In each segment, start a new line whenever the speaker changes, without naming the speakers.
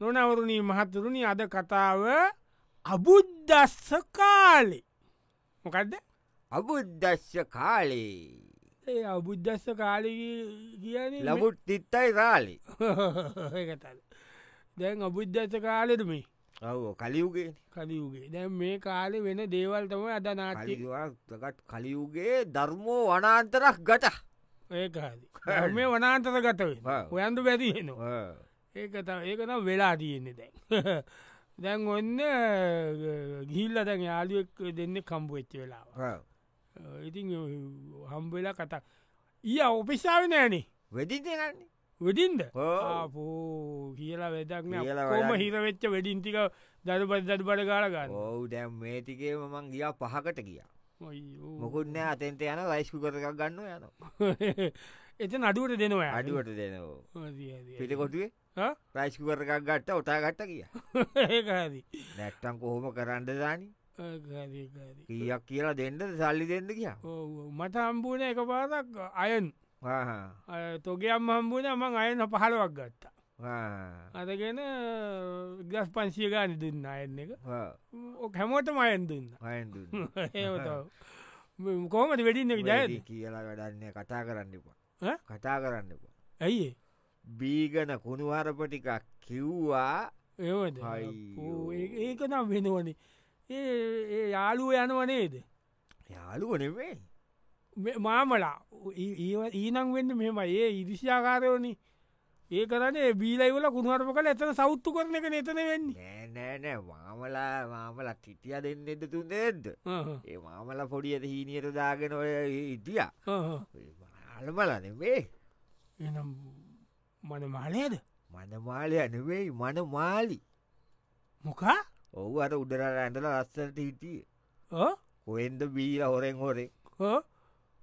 නොනවරුණී මහතුරුණි අද කතාව අබුද්ධස්ස කාලෙ මොකක්ද
අබුද්ධශ්‍ය කාලේ
ඒ අබුද්ධස්ස කාලි කියන
ලබුට් තිත්තයි රාලි
ඒකතල් දැන් අබුද්ධස්ස කාලෙටම
ඔව කලියුගේ
කලියුගේ දැන් මේ කාලෙ වෙන දේවල්තම අද නාටි
ah, කලිගත් කලියුගේ ධර්මෝ වනාන්තරක් ගට
ඒකාද මේ වනාන්තර ගතවේ
ඔව්.
ඔයන්ට බැතිහෙනවා
ah,
ඒක තව ඒකන වෙලා තියෙන්නේ දැන් දැන් ඔන්න ගිල්ල දැන් යාලියෙක් දෙන්න කම්පුවෙච්ච වෙලාව
ah.
අ, ඉතින් හම්බවෙලා කතා ඊය ඔපිසාාව නෑනේ
වෙදිතිනන්නේ
වෙඩින්ද
ඔව්.
Ah, පෝ කියලා වෙදක්න
කියලා
කොම
වැඩක් නෑ.
හිරවෙච්ච වෙඩින්තික දඩපත් දඩ බඩ කාලගන්න
ඔවු දැම් මේටිකේ මං ගියා පහකට ගිය
Uh.
මොකුත් නෑ අතෙන්ට යන රයිස්කු කරක් ගන්න යන
එත නඩුවට දෙනවා
අඩුවට දෙනෝ පිටකොටුවේ
ඒකද
රයිස්කු කරක් ගට්ට ඔටා ගට්ට කිය නැට්ටම් කොහොම කරන්න දානි කියක් කියලා දෙන්නද සල්ලි දෙන්න කියා
මට හම්බුවන එක පාදක් අයන් තොගේම් හම්බුවන මං අයන පහළුවක් ගත්තා අදගෙන ගස් පන්සිය ගාන දුන්න අයන්න එක හැමෝට මයන් දුන්න කෝමට වැඩින්න ජය
කියලා වැඩන්නේ කතා කරන්න
ඈ?
එපා කතා කරන්න එපා
ඇයි
බීගන කුණුහරපටිකක් කිව්වා
ඒවද
අයියෝ.
ඒක නම් වෙනවනේ ඒ- ඒ යාලුව යනවනේද
යාලුව නෙමේ
මේ මාමලා ඊ- ඊව- ඊනං වෙන්න මෙම ඒ ඉදිශාකාරයෝනි ඒ කරන බීලයිවල කුණුවරප කල එතන සෞත්තු කරන එක නතන වෙන්නේ
නෑනෑනෑ මාමලා මාමල ටිටිය දෙන්න එද තුන් දෙෙද්ද
අහහ,
ඒ මාමල පොඩියට හීනියට දාගෙන ඔය ඉටිය
අහහ.
අලමල නෙමේ
එනම් මන මාලයද
මනමාලය නෙවෙයි මන මාලි
මොකා
ඔහු අර උඩරට ඇඳල රස්සට හිටිය කොෙන්ද බීල හොරෙන් හොරේ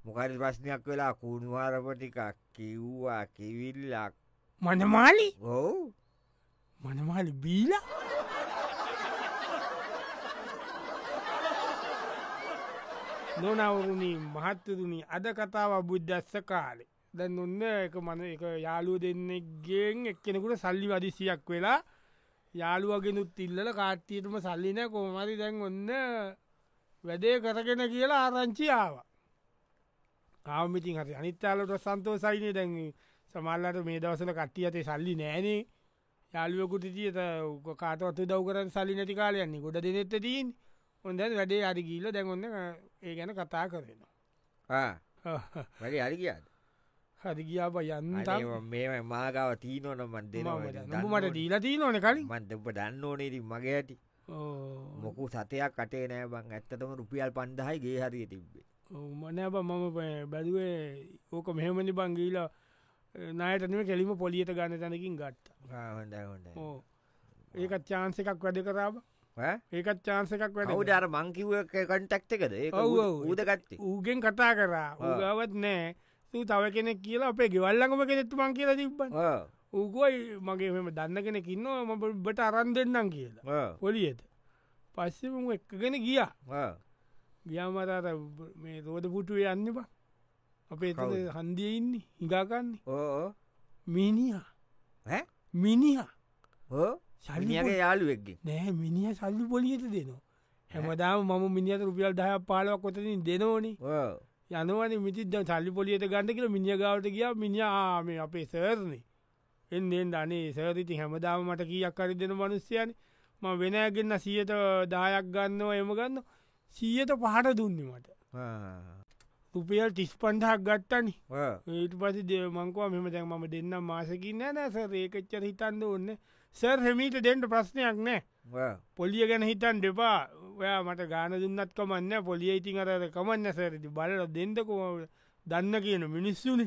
මොකරි ප්‍රශ්නයක් වෙලා කුණුවාරපටිකක් කිව්වා කිවිල්ලක්
මනමාලි
ඔවු
මනමාලි බීල නොනවරුණී මහත්තතුනි අද කතාව බුද්ධස්ස කාලේ දැන් ඔන්න එක මන එක යාලුව දෙන්නගෙන් එක්කෙනෙකුට සල්ලි වදිසියක් වෙලා යාළුවගෙනුත් ඉල්ලල කාට්ටියටම සල්ලින කොමරි දැන් ඔන්න වැඩේ කරගෙන කියලා ආරංචියාව ආමිතින් හරි අනිත්තාලට සන්තෝ සයිනය දැන් සමල්ලට මේ දවසල කට්ටිය ඇතේ සල්ලි නෑනේ යාලුවකුට තියත කාටවත්තු දව් කරන්න සල්ලි නැති කාලයන්නේ ගොඩ දෙනෙත්ත තිීන් හොඳ වැඩේ අරිගීල දැන්ඔන්න ඒ ගැන කතා කරෙන
වැඩි අරිගියාද
හරි ගියාප යන්න
මේ මාගාව තීනොනමන්
නොමට දීලා තිී නොන කලින්
මන්තප දන්න ඕනේති මගේ ඇති මොකු සතයක් කටේ නෑ බං ඇත්තටම රුපියල් පන්දහයි ගේ හරිය තිබ්බේ
මනබ මම බ- බැලුවේ ඕක මෙහෙමනි බංගීල නායටනම කෙලිම පොලියට ගන්න තැනකින් ගත්ත
හොඳ හොඳ
ඕ. ඒකත් චාන්ස එකක් වැඩ කරාව ඒකත් චාන්ස එකක් වැඩ
ඔවුඩර මංකිව කටක්ට එකද ඒ
ඔව් ඔව්.
ඌද ගත්තේ
ඌගෙන් කතා කරා
ආ.
ඌගාවත් නෑ තු තව කෙනෙක් කියලා අපේ ගෙවල්ලඟම කෙනෙත්තුමන් කියලා තිබ්බන්
ඔව්,
ඌගොයි මගේ මෙම දන්න කෙනෙ කින්නවා ම බට අරන් දෙන්නම් කියලා
ඔව්,
පොලියට පස්සෙම එක්කගෙන ගියා
ඔව්.
ගියාමතාර මේ රෝධ පුටුවේ යන්නවා අපේ එතන
කවුද?
හන්දිය ඉන්න හිඟාකන්නේ
ඕ, ඕ.
මිනිිය
ඈ?
මිනිිය
ඕ මිනිහගේ
සල්ලිය
යාළුවෙක්ගේ
නෑ මිනිිය සල්ලි පොලියට දෙනවා හැමදාම මම මිනිියට රුපියල් දහ පාලක් කොතින් දෙනෝනේ
ඕ,
යනවන මිතිද සල්ලි පොලියට ගන්න කියල මිනිිය ගවට කිය මිනිාම අපේ සර්නේ එන්ෙන් අනේ සරතිති හැමදාම මට කියක් කරි දෙන මනුස්්‍යයන ම වෙනයගන්න සියත දායක් ගන්නවා එම ගන්න සියත පහට දුන්නේ මට
ආ,
රුපියල් ටිස් පන්ඩහක් ගත්තනි
ඕ.
ඒට පසි දේමංකවා මෙම දැන් ම දෙන්න මාසකින්න නෑස ඒකච්චර හිතන්න ඔන්න සර් හෙමීට දෙන්ට ප්‍රශ්නයක් නෑ
ඔව්.
පොලිය ගැන හිතන් දෙපා ඔයා මට ගාන දුන්නත් කමන්න පොලිය ඉතින් අරද කමන්න සැරති බලල දෙන්දකොම දන්න කියන මිනිස්සුන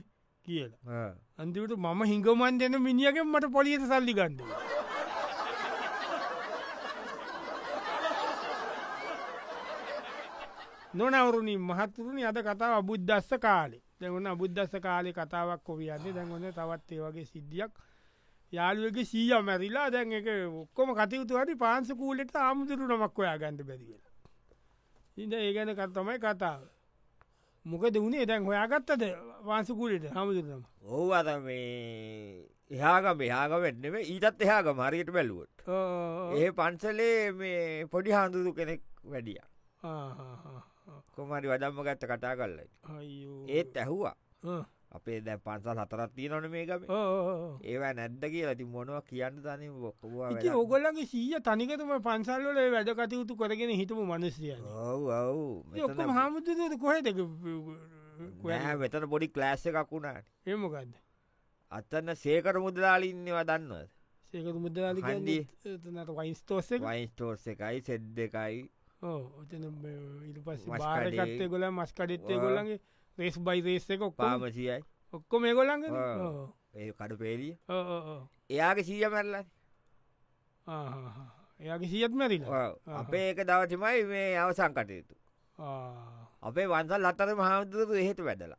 කියලා
ඔව්.
අන්තිවට මම හිඟමන් දෙන මිනිියගෙන් මට පොලියට සල්ලි ගන්ඩ නොනවරුණින් මහත්තුරුණි අද කතාව බුද්ධස්ස කාලේ දෙවන්න බුද්ධස්ස කාලෙ කතාවක් කොවියන්නේ දැන්ගොන්න තවත් ඒ වගේ සිද්ධියක් යාළුවගේ සීය මැරිලා දැන් එක ඔක්කොම කතයුතුවට පාන්සකූලෙට ආමුදුරු නමක් ඔයා ගන්ට බැදිවෙන ඉඳ ඒ ගැන කත්තමයි කතාව මොකද වුණේ දැන් හොයාගත්තද වාන්සකූලෙට හමුදුරම
ඔව් අද මේ එහාගම එහාගම එන්නම ඊටත් එහාගම හරියට බැලුවොත් ඒ පන්සලේ මේ පොඩි හාඳුදු කෙනෙක් වැඩිය කොමරි වදම්ම ගත්ත කතා කල්ලයි ඒත් ඇහුවා අපේ දැ පන්සල් හතරත් තියනොන මේ ගම ඒවා නැද්ද කියලා ති මොනවා කියන්න තනි බොක්වා
ඔගොල්ලගේ සීය තනිකතම පන්සල්වල වැඩ කටයුතු කරගෙන හිටපු මනුස්්‍රිය
ඔව් ඔව්
ඔක්කම හාමුදුරුවද කොහෙදක
වෙතන පොඩි කලෑස්ස එකක් වුණාට
එමකක්ද
අත්තන්න සේකර මුදලාලින්නවා දන්නවද
සේක මුදලාලි
හන්දි.
නට වයින්ස්තෝස්ස එක
වයින්ස්ටෝර්ස එකයි සෙද් දෙකයි
ඔතන ඉට පස්
මස් කඩේ.
බාරකත්තය ගොල මස්කඩෙත්තේ
ඔව්.
ගොල්ලගේ රේස් බයිරේස්සක ඔක්කාම
පාමසියයි
ඔක්කො මේ ගොල්ලග
ඔව්. ඒ කඩු පේලිය එයාගේ සීය මැරලයි
එයාගේ සියත් මැරිලා ආහා.
අපේ ඒක දවටමයි මේ අවසං කටයුතු
ආ.
අපේ වන්සල් අත්තර මහාමුදුරු එහෙට වැඩලා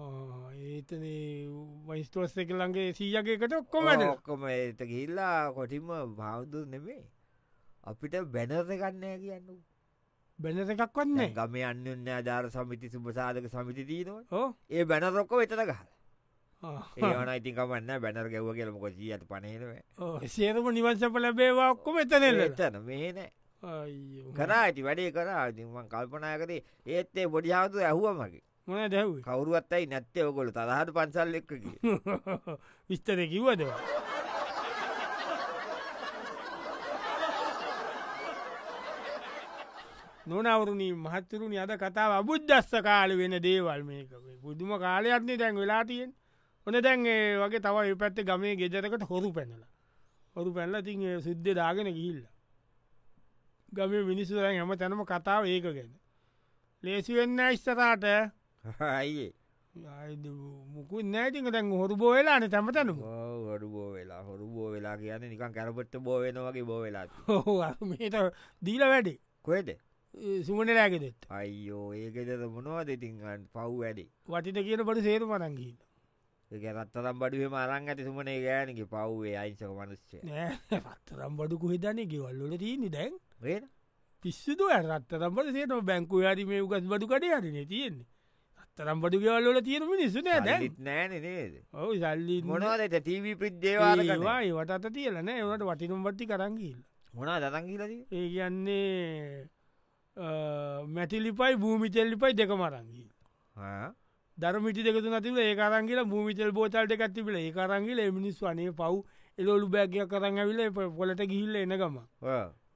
ආ, ඒතන වයිස්තෝස්ස එක ළඟේ සීයගේකට ඔක්කොමට
ඔක්කොම එත ගිල්ලා කොටිම බෞද්ධ නෙමේ අපිට බැනර්ස ගන්නෑ කියන්න
බැන එකක් වන්නේ
ගම අන්‍යන්න ආධාර සමිති සුපසාධක සමිති දීනවා
ඕ
ඒ බැනරොක්කො වෙතට ගහ ඒවන ඉතිකමන්න බැනර් ගැව කියලම කොචී ඇත පනේනව
සේරම නිවංශප ලැබේවා ඔක්කොම එතනෙල්ල
එතන මේන කරා ඇති වැඩේ කරා ඉතින් මං කල්පනා කරේ ඒත් ඒ බොඩි හාතු ඇහුවමගේ
මොන දැව්
කවරුවත්තයි නැත්තේ ඔකොල තදහට පන්සල් එක්කගේ
විස්තර කිව්වද නොනවරුණී මහත්තරුණ අද කතාව අබුද්ධස්ස කාල වෙන දේවල් මේක මේ බුදුම කාලයක්නේ දැන් වෙලාතියෙන් ඔන දැන් ඒ වගේ තව පැත්ත ගමේ ගෙජරකට හොරු පැනල හොරු පැල්ල තින් සුද්ධ දාගෙන ගිල්ල ගම මිනිස්සුරන් හැම තැනම කතාව ඒක ගැන ලේසි වෙන්න ඉස්සරාට
අයියේ
මුකුත් නෑතික දැන් හොරු බෝවෙලාන තැමතනවා
හොඩු බෝ වෙලා හොරු බෝ වෙලා කියන්න නිකන් කැරපට්ට බෝ වෙනවගේ බෝ වෙලා
හෝ මේට දීල වැඩි
කොේද
සුමනරෑගෙදෙත්
අයිෝ ඒකෙදද මොනවා දෙතින්ගන්න පව් වැඩි
වටිට කියන පට සේරු පරන්ගී
ඒකරත්තරම් බඩුවේ මරං ඇති සුමනේ ගෑනක පව්වේ අයිංසක මනුස්්‍යය
නෑ පත්තරම් බඩු කොහෙදන්නේ ගෙවල්ලොල තියන්නේ දැන්
වෙන
පිස්සුතු ඇරත්තරම්බට සේට බැංකු හරි මේ උගත් බඩු කට හරින තියෙන්නේ අත්තරම් බඩු ගෙවල්ලොල තියෙන මිනිස්සු නෑ දැන්
ලිත් නෑන නේද
ඔවු සල්ලි
මොනවාදට ටීවී පිද්දේවාල
ඒවා ඒවට අත තියලන ඒවට වටිනම් බට්ටි කරංගීල්
මොනා දරංගිලද
ඒ කියන්නේ මැටිලිපයි භූමිචෙල්ලිපයි දෙක මරංගී දරමිටි දෙක නතිව ඒකාරංගල භූමිචල් බෝතල්ට එකත්තිබල ඒකාරංගල මිනිස් වනේ පව් එලෝලු බෑගයක් කරන්න ඇවිල පොලට ගිහිල්ල එනගම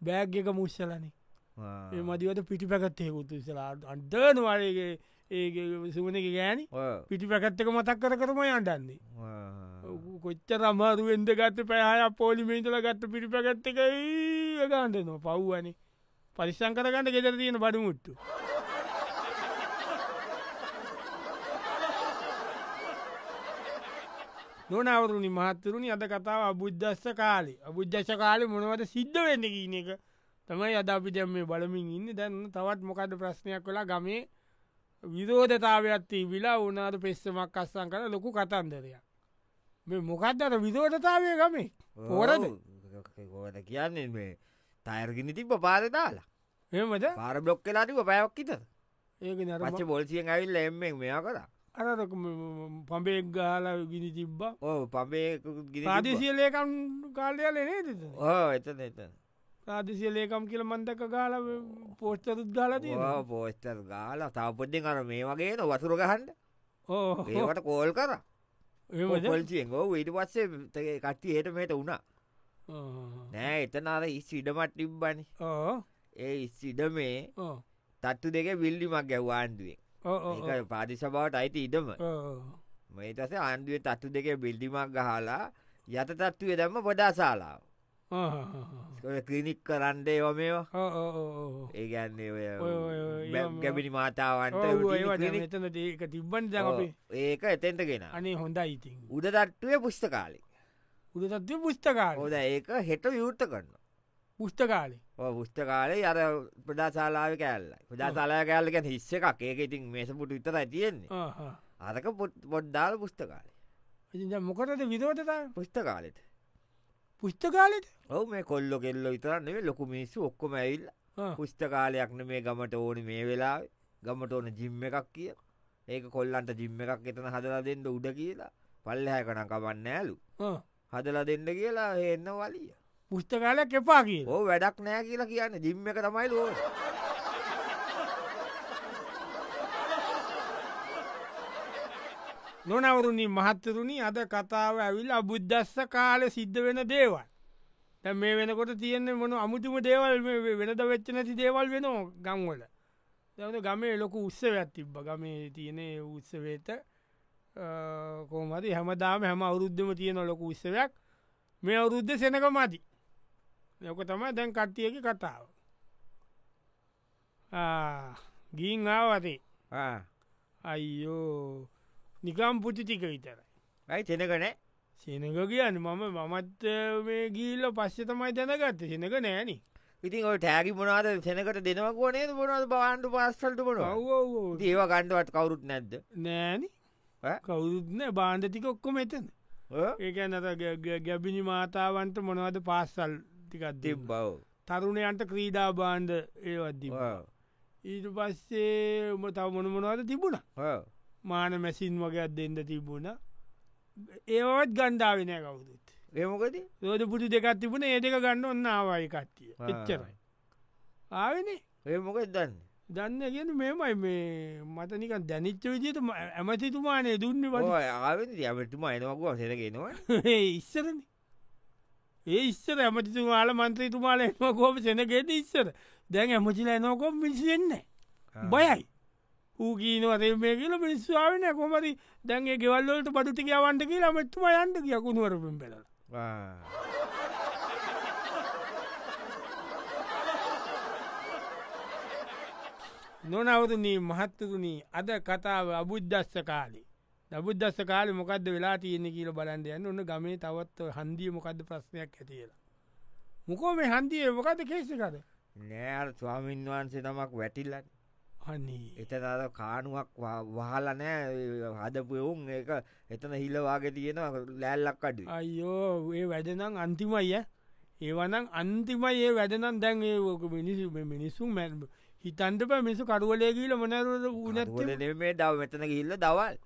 බෑග් එක මුස්සලනේ ඒ මදිවට පිටි පැකත්තේ උතුසලාට අන්ටනවාරගේ ඒ සුවන එක ගෑනි පිටි පැකත්තක මතක් කර කරම අන්ටන්නේ කොච්ච රමාරුවෙන්ද ගත්ත පැහය පෝලිමේන්තල ගත්ත පිටි පැකත්තක ගන්ටනවා පව්වනේ පරිස්සං කරගන්න ගෙදර තියෙන බඩමුට්ටු නොනවරුණනි මහත්තරුණි අද කතාව අබුද්ධස්ස කාලේ අබුද්ධශ කාලේ මොනවට සිද්ධ වෙන්න කියන එක තමයි අද අපිට මේ බලමින් ඉන්න දැන්න තවත් මොකද ප්‍රශ්නයක් කලා ගමේ විරෝධතාවයක්ත්ති විලා උනාට පෙස්සමක් අස්සන් කළ ලොකු කතන්දරයක් මේ මොකක්ද අර විරෝධතාවය ගමේ පෝරද?
ගෝට කියන්නේ මේ තයරගෙන තිබ පාරතාලා
එමද
පාර බ්ලොක් කලාටික පැයක්කිත
ඒක නර
පච්ච පොල්සියෙන් ඇවිල්ල එම්මෙක් මෙයා කරා
අරක පඹෙක් ගාල ගිනි තිබ්බා
ඕ පබේක
ප්‍රාදේශය ලේකම් කාලයල නේද
ඕ එතන එතන
ප්‍රාදේශය ලේකම් කියල මන්දක ගාල පෝස්්චරුත් ගාලතිය
පෝස්තර් ගාල තාපොඩ්ඩි කර මේ වගේ න වතුර ගහන්ඩ
ඕ
ඒකට කෝල් කර
එමද
පොල්සියෙන් ෝ ඉට පස්සේ තේ කට්ටි හට මෙට වුණා නෑ එතනාර ඉස්සිඩමට තිබ්බනි
ඕ
ඒ ඉස්සිඩ මේ
ඕ
තත්තු දෙක විල්ඩිමක් ගැව ආණ්ඩුවෙන්
ඕ
ඒක පාදි සබවට අයිති ඉඩම මේතස ආණ්ඩුවේ තත්තු දෙක බිල්ඩිමක් ගහලා යත තත්තුවේ දම්ම පොඩා ශාලාව ක්‍රිනික් කරන්ඩේ ඕමේවා ඒගැන්නේ ඔය
ඔය ඔය ඔය ඒවා
ගැබිනි මාතාවන්ට routine
එතන ඒක තිබ්බන්
clinic. ඔව්.
දපේ
ඒක එතෙන්ට ගෙන
අනේ හොඳ ඉතින්
උඩ තට්ටුවේ පුෂ්ට කාලෙ
උදතත්ව පුස්්ටකාල
හොද ඒක හෙට යුර්ත කරන්න
පුෂ්ටකාලේ
පුෂ්ට කාලේ අර ප්‍රඩාශාලාව කෑල්ලයි ප්‍රඩාශාලා කෑල්ලකැන හිස්ස එකක් ඒක ඉතින් මේස පුට විතර තියෙන්නේ අරක පොට් පොඩ්ඩාල පුෂ්ට කාලෙ
ඉ මොකටද විදෝටතා
පුෂ්ට කාලෙට
පුෂ්ටකාලෙට
ඔව මේ කොල්ලො කෙල්ල විතරන්නේ ලොකු මිනිස්සු ඔක්කොම ඇවිල් පුෂ්ට කාලයක්න මේ ගමට ඕන මේ වෙලා ගමට ඕන ජිම්ම එකක් කිය ඒක කොල්ලන්ට ජිම්ම එකක් එතන හදලා දෙන්න උඩ කියලා පල්ලහැ කන කවන්න ඇලු හදල දෙන්න කියලා එන්න වලිය
පුස්තකාලයක් එපා කිය
ඕ වැඩක් නෑ කියලා කියන්න ජිම්ම එක තමයි ලෝ
නොනවරුණින් මහත්තරුණි අද කතාව ඇවිල් අබුද්ධස්ස කාල සිද්ධ වෙන දේවල්. තැ මේ වෙනකොට තියෙන්නේ මොන අමුතුම දේවල් වෙනද වෙච්ච නැති දේවල් වෙනෝ ගංවල. දැවද ගමේ ලොකු උත්සවයක් තිබ්බ ගමේ තියනේ උත්සවේත කෝමති හැමදාම හැම අවුරුද්ධම තියෙන ලොකු උත්සවයක් මේ අවුරුද්ධ සෙනක මති. යොක තමයි දැන් කට්ටියකි කතාව. ගීන් ආවතේ අයියෝ නිකම් පුචි ටික විතරයි.
ඇයි සෙනකනෑ
සෙනක කියන්න මම මමත් මේ ගීල්ල පස්්‍ය තමයි දැනගත්ත සෙනක නෑන
ඉතින් ඔට ටෑගි මොනාද සෙනකට දෙනවකෝ නේද මොනද බාන්ඩු පස්සල්ට මොන ඒව ගණ්ඩුවත් කවුරුත් නැද්ද
නෑන කවුරුත්න බාන්ධ ටික ඔක්කොම එතන ඒකැන ගැබිනි මාතාවන්ට මොනවද පාස්සල් ටිකත් දෙ
බව
තරුණයන්ට ක්‍රීඩා බාන්්ඩ ඒවත්දි ඊට පස්සේ උම තව මොන මොනවද තිබුණා මාන මැසින් වගේත් දෙන්න තිබුණ ඒවත් ගණ්ඩාවනය කවුරුත්
ඒමකද
රෝජ පුටි දෙකත් තිබුණ ඒදක ගන්න ඔන්න ආවායි කට්ටිය එච්චරයි ආවනේ
ඒමොක දන්න
දන්න ගෙන මෙමයි මේ මතනික දැනිච්ච විදියට ඇමතිතුමානේ දුන්න ව
ඇමතුම අයනකවා සෙනගෙනවා
ඉස්සරන ඒ ඉස්සර ඇමතිතුමාල මන්ත්‍රීතුමාල එම කෝප සෙනගෙට ඉස්සර දැන් ඇමචිලා එනෝකොම් මිසිවෙන්නේ බයයි ඌ ගීනවතේ මේ කියල පිනිස්වාාවන කොමරි දැන්ගේ ගෙවල්ලොලට පටුතික අවන්ට කියලා මෙත්තුම යන්ට කියකුණුවරපින් පෙල නොනවරනී මහත්තතුනී අද කතාව අබුද්ධස්ස කාලේ දබුද්ධස්ස කාල මොකද වෙලා තියෙන කියල බලන්ඩ යන්න ඔන්න ගමේ තවත් හන්දිය මොකද ප්‍රශ්නයක් ඇතිලා. මොකෝ මේ හන්දිය මොකද කේසිකද
නෑර ස්වාමීන් වහන්සේ තමක් වැටිල්ලන්න එතන අර කානුවක් වහලනෑ හදපයවුන් ඒක එතන හිල්ලවාගේ තියෙන ලෑල්ලක් අඩ
අයෝ ඒ වැඩනම් අන්තිමයිය ඒවනම් අන්තිමයි ඒ වැඩනම් දැන් ඒෝක මිනිසු මිනිසු මැ හිතන්ට ප මිනිසු කරුවලයගීල මොනර
උනත් මේ දව මෙතන ගිල්ල දවල්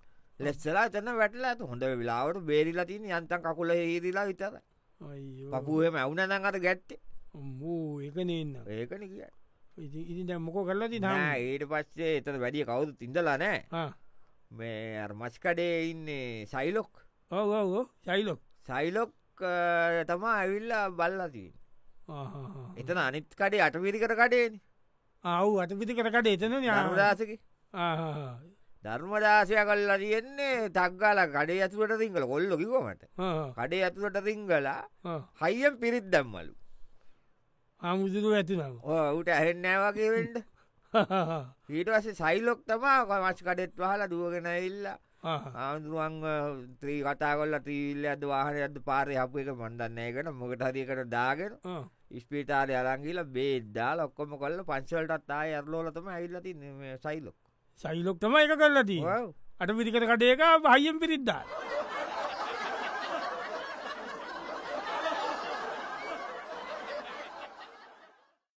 ලෙස්සලා එතන වැටලා ඇත හොඳ වෙලාවට බේරිලා තින යන්තන් කකුල ඒරිලා විතර පපුුවම ඇවුනනං අට ගැත්තේ
මූ ඒකනන්න
ඒකන කිය
ඉ මොක කරලා ති
ඊට පස්සේ එතන වැඩිය කවුදු තිඳලා නෑ මේ මස්කඩේ ඉන්නේ සයිලොක්
ඔවෝ සයිලොක්
සයිලොක් තමා ඇවිල්ලා බල්ලතින් එතන අනිත් කඩේ අටවිරි කර කඩේන
අව් අටපිති කරකට එතන
ධර්මදාසක ධර්මදාශය කල්ලා තියෙන්නේ තක්ගාල කඩේ ඇතුවට සිංහල කොල්ලො කිවමට කඩේ ඇතුවට සිංහලා හයිියම් පිරිත් දැම්මලු
හාමුදුරු ඇතිනම්
ඌට ඇහෙන්නෑවාගේවෙන්ට ඊට වසේ සයිලොක් තමා මච් කඩෙත් වහලා දුවගෙන ඉල්ලා ආමුදුරුවන් ත්‍රී කතා කොල්ල ත්‍රීල්ල අද වාහන ඇද පාරය අප එක මන්දන්නේකට මොකට හරිකට දාගෙන ඉස්පිටාරය අරංගිල බේද්දා ලොක්කොම කොල්ල පංචවලටත් ආය අරලෝලතම ඇල්ලති සයිලොක්
සයිලොක් තම එක කරලති අට පිරිකට කඩේක පහයෙන් පිරිද්දා.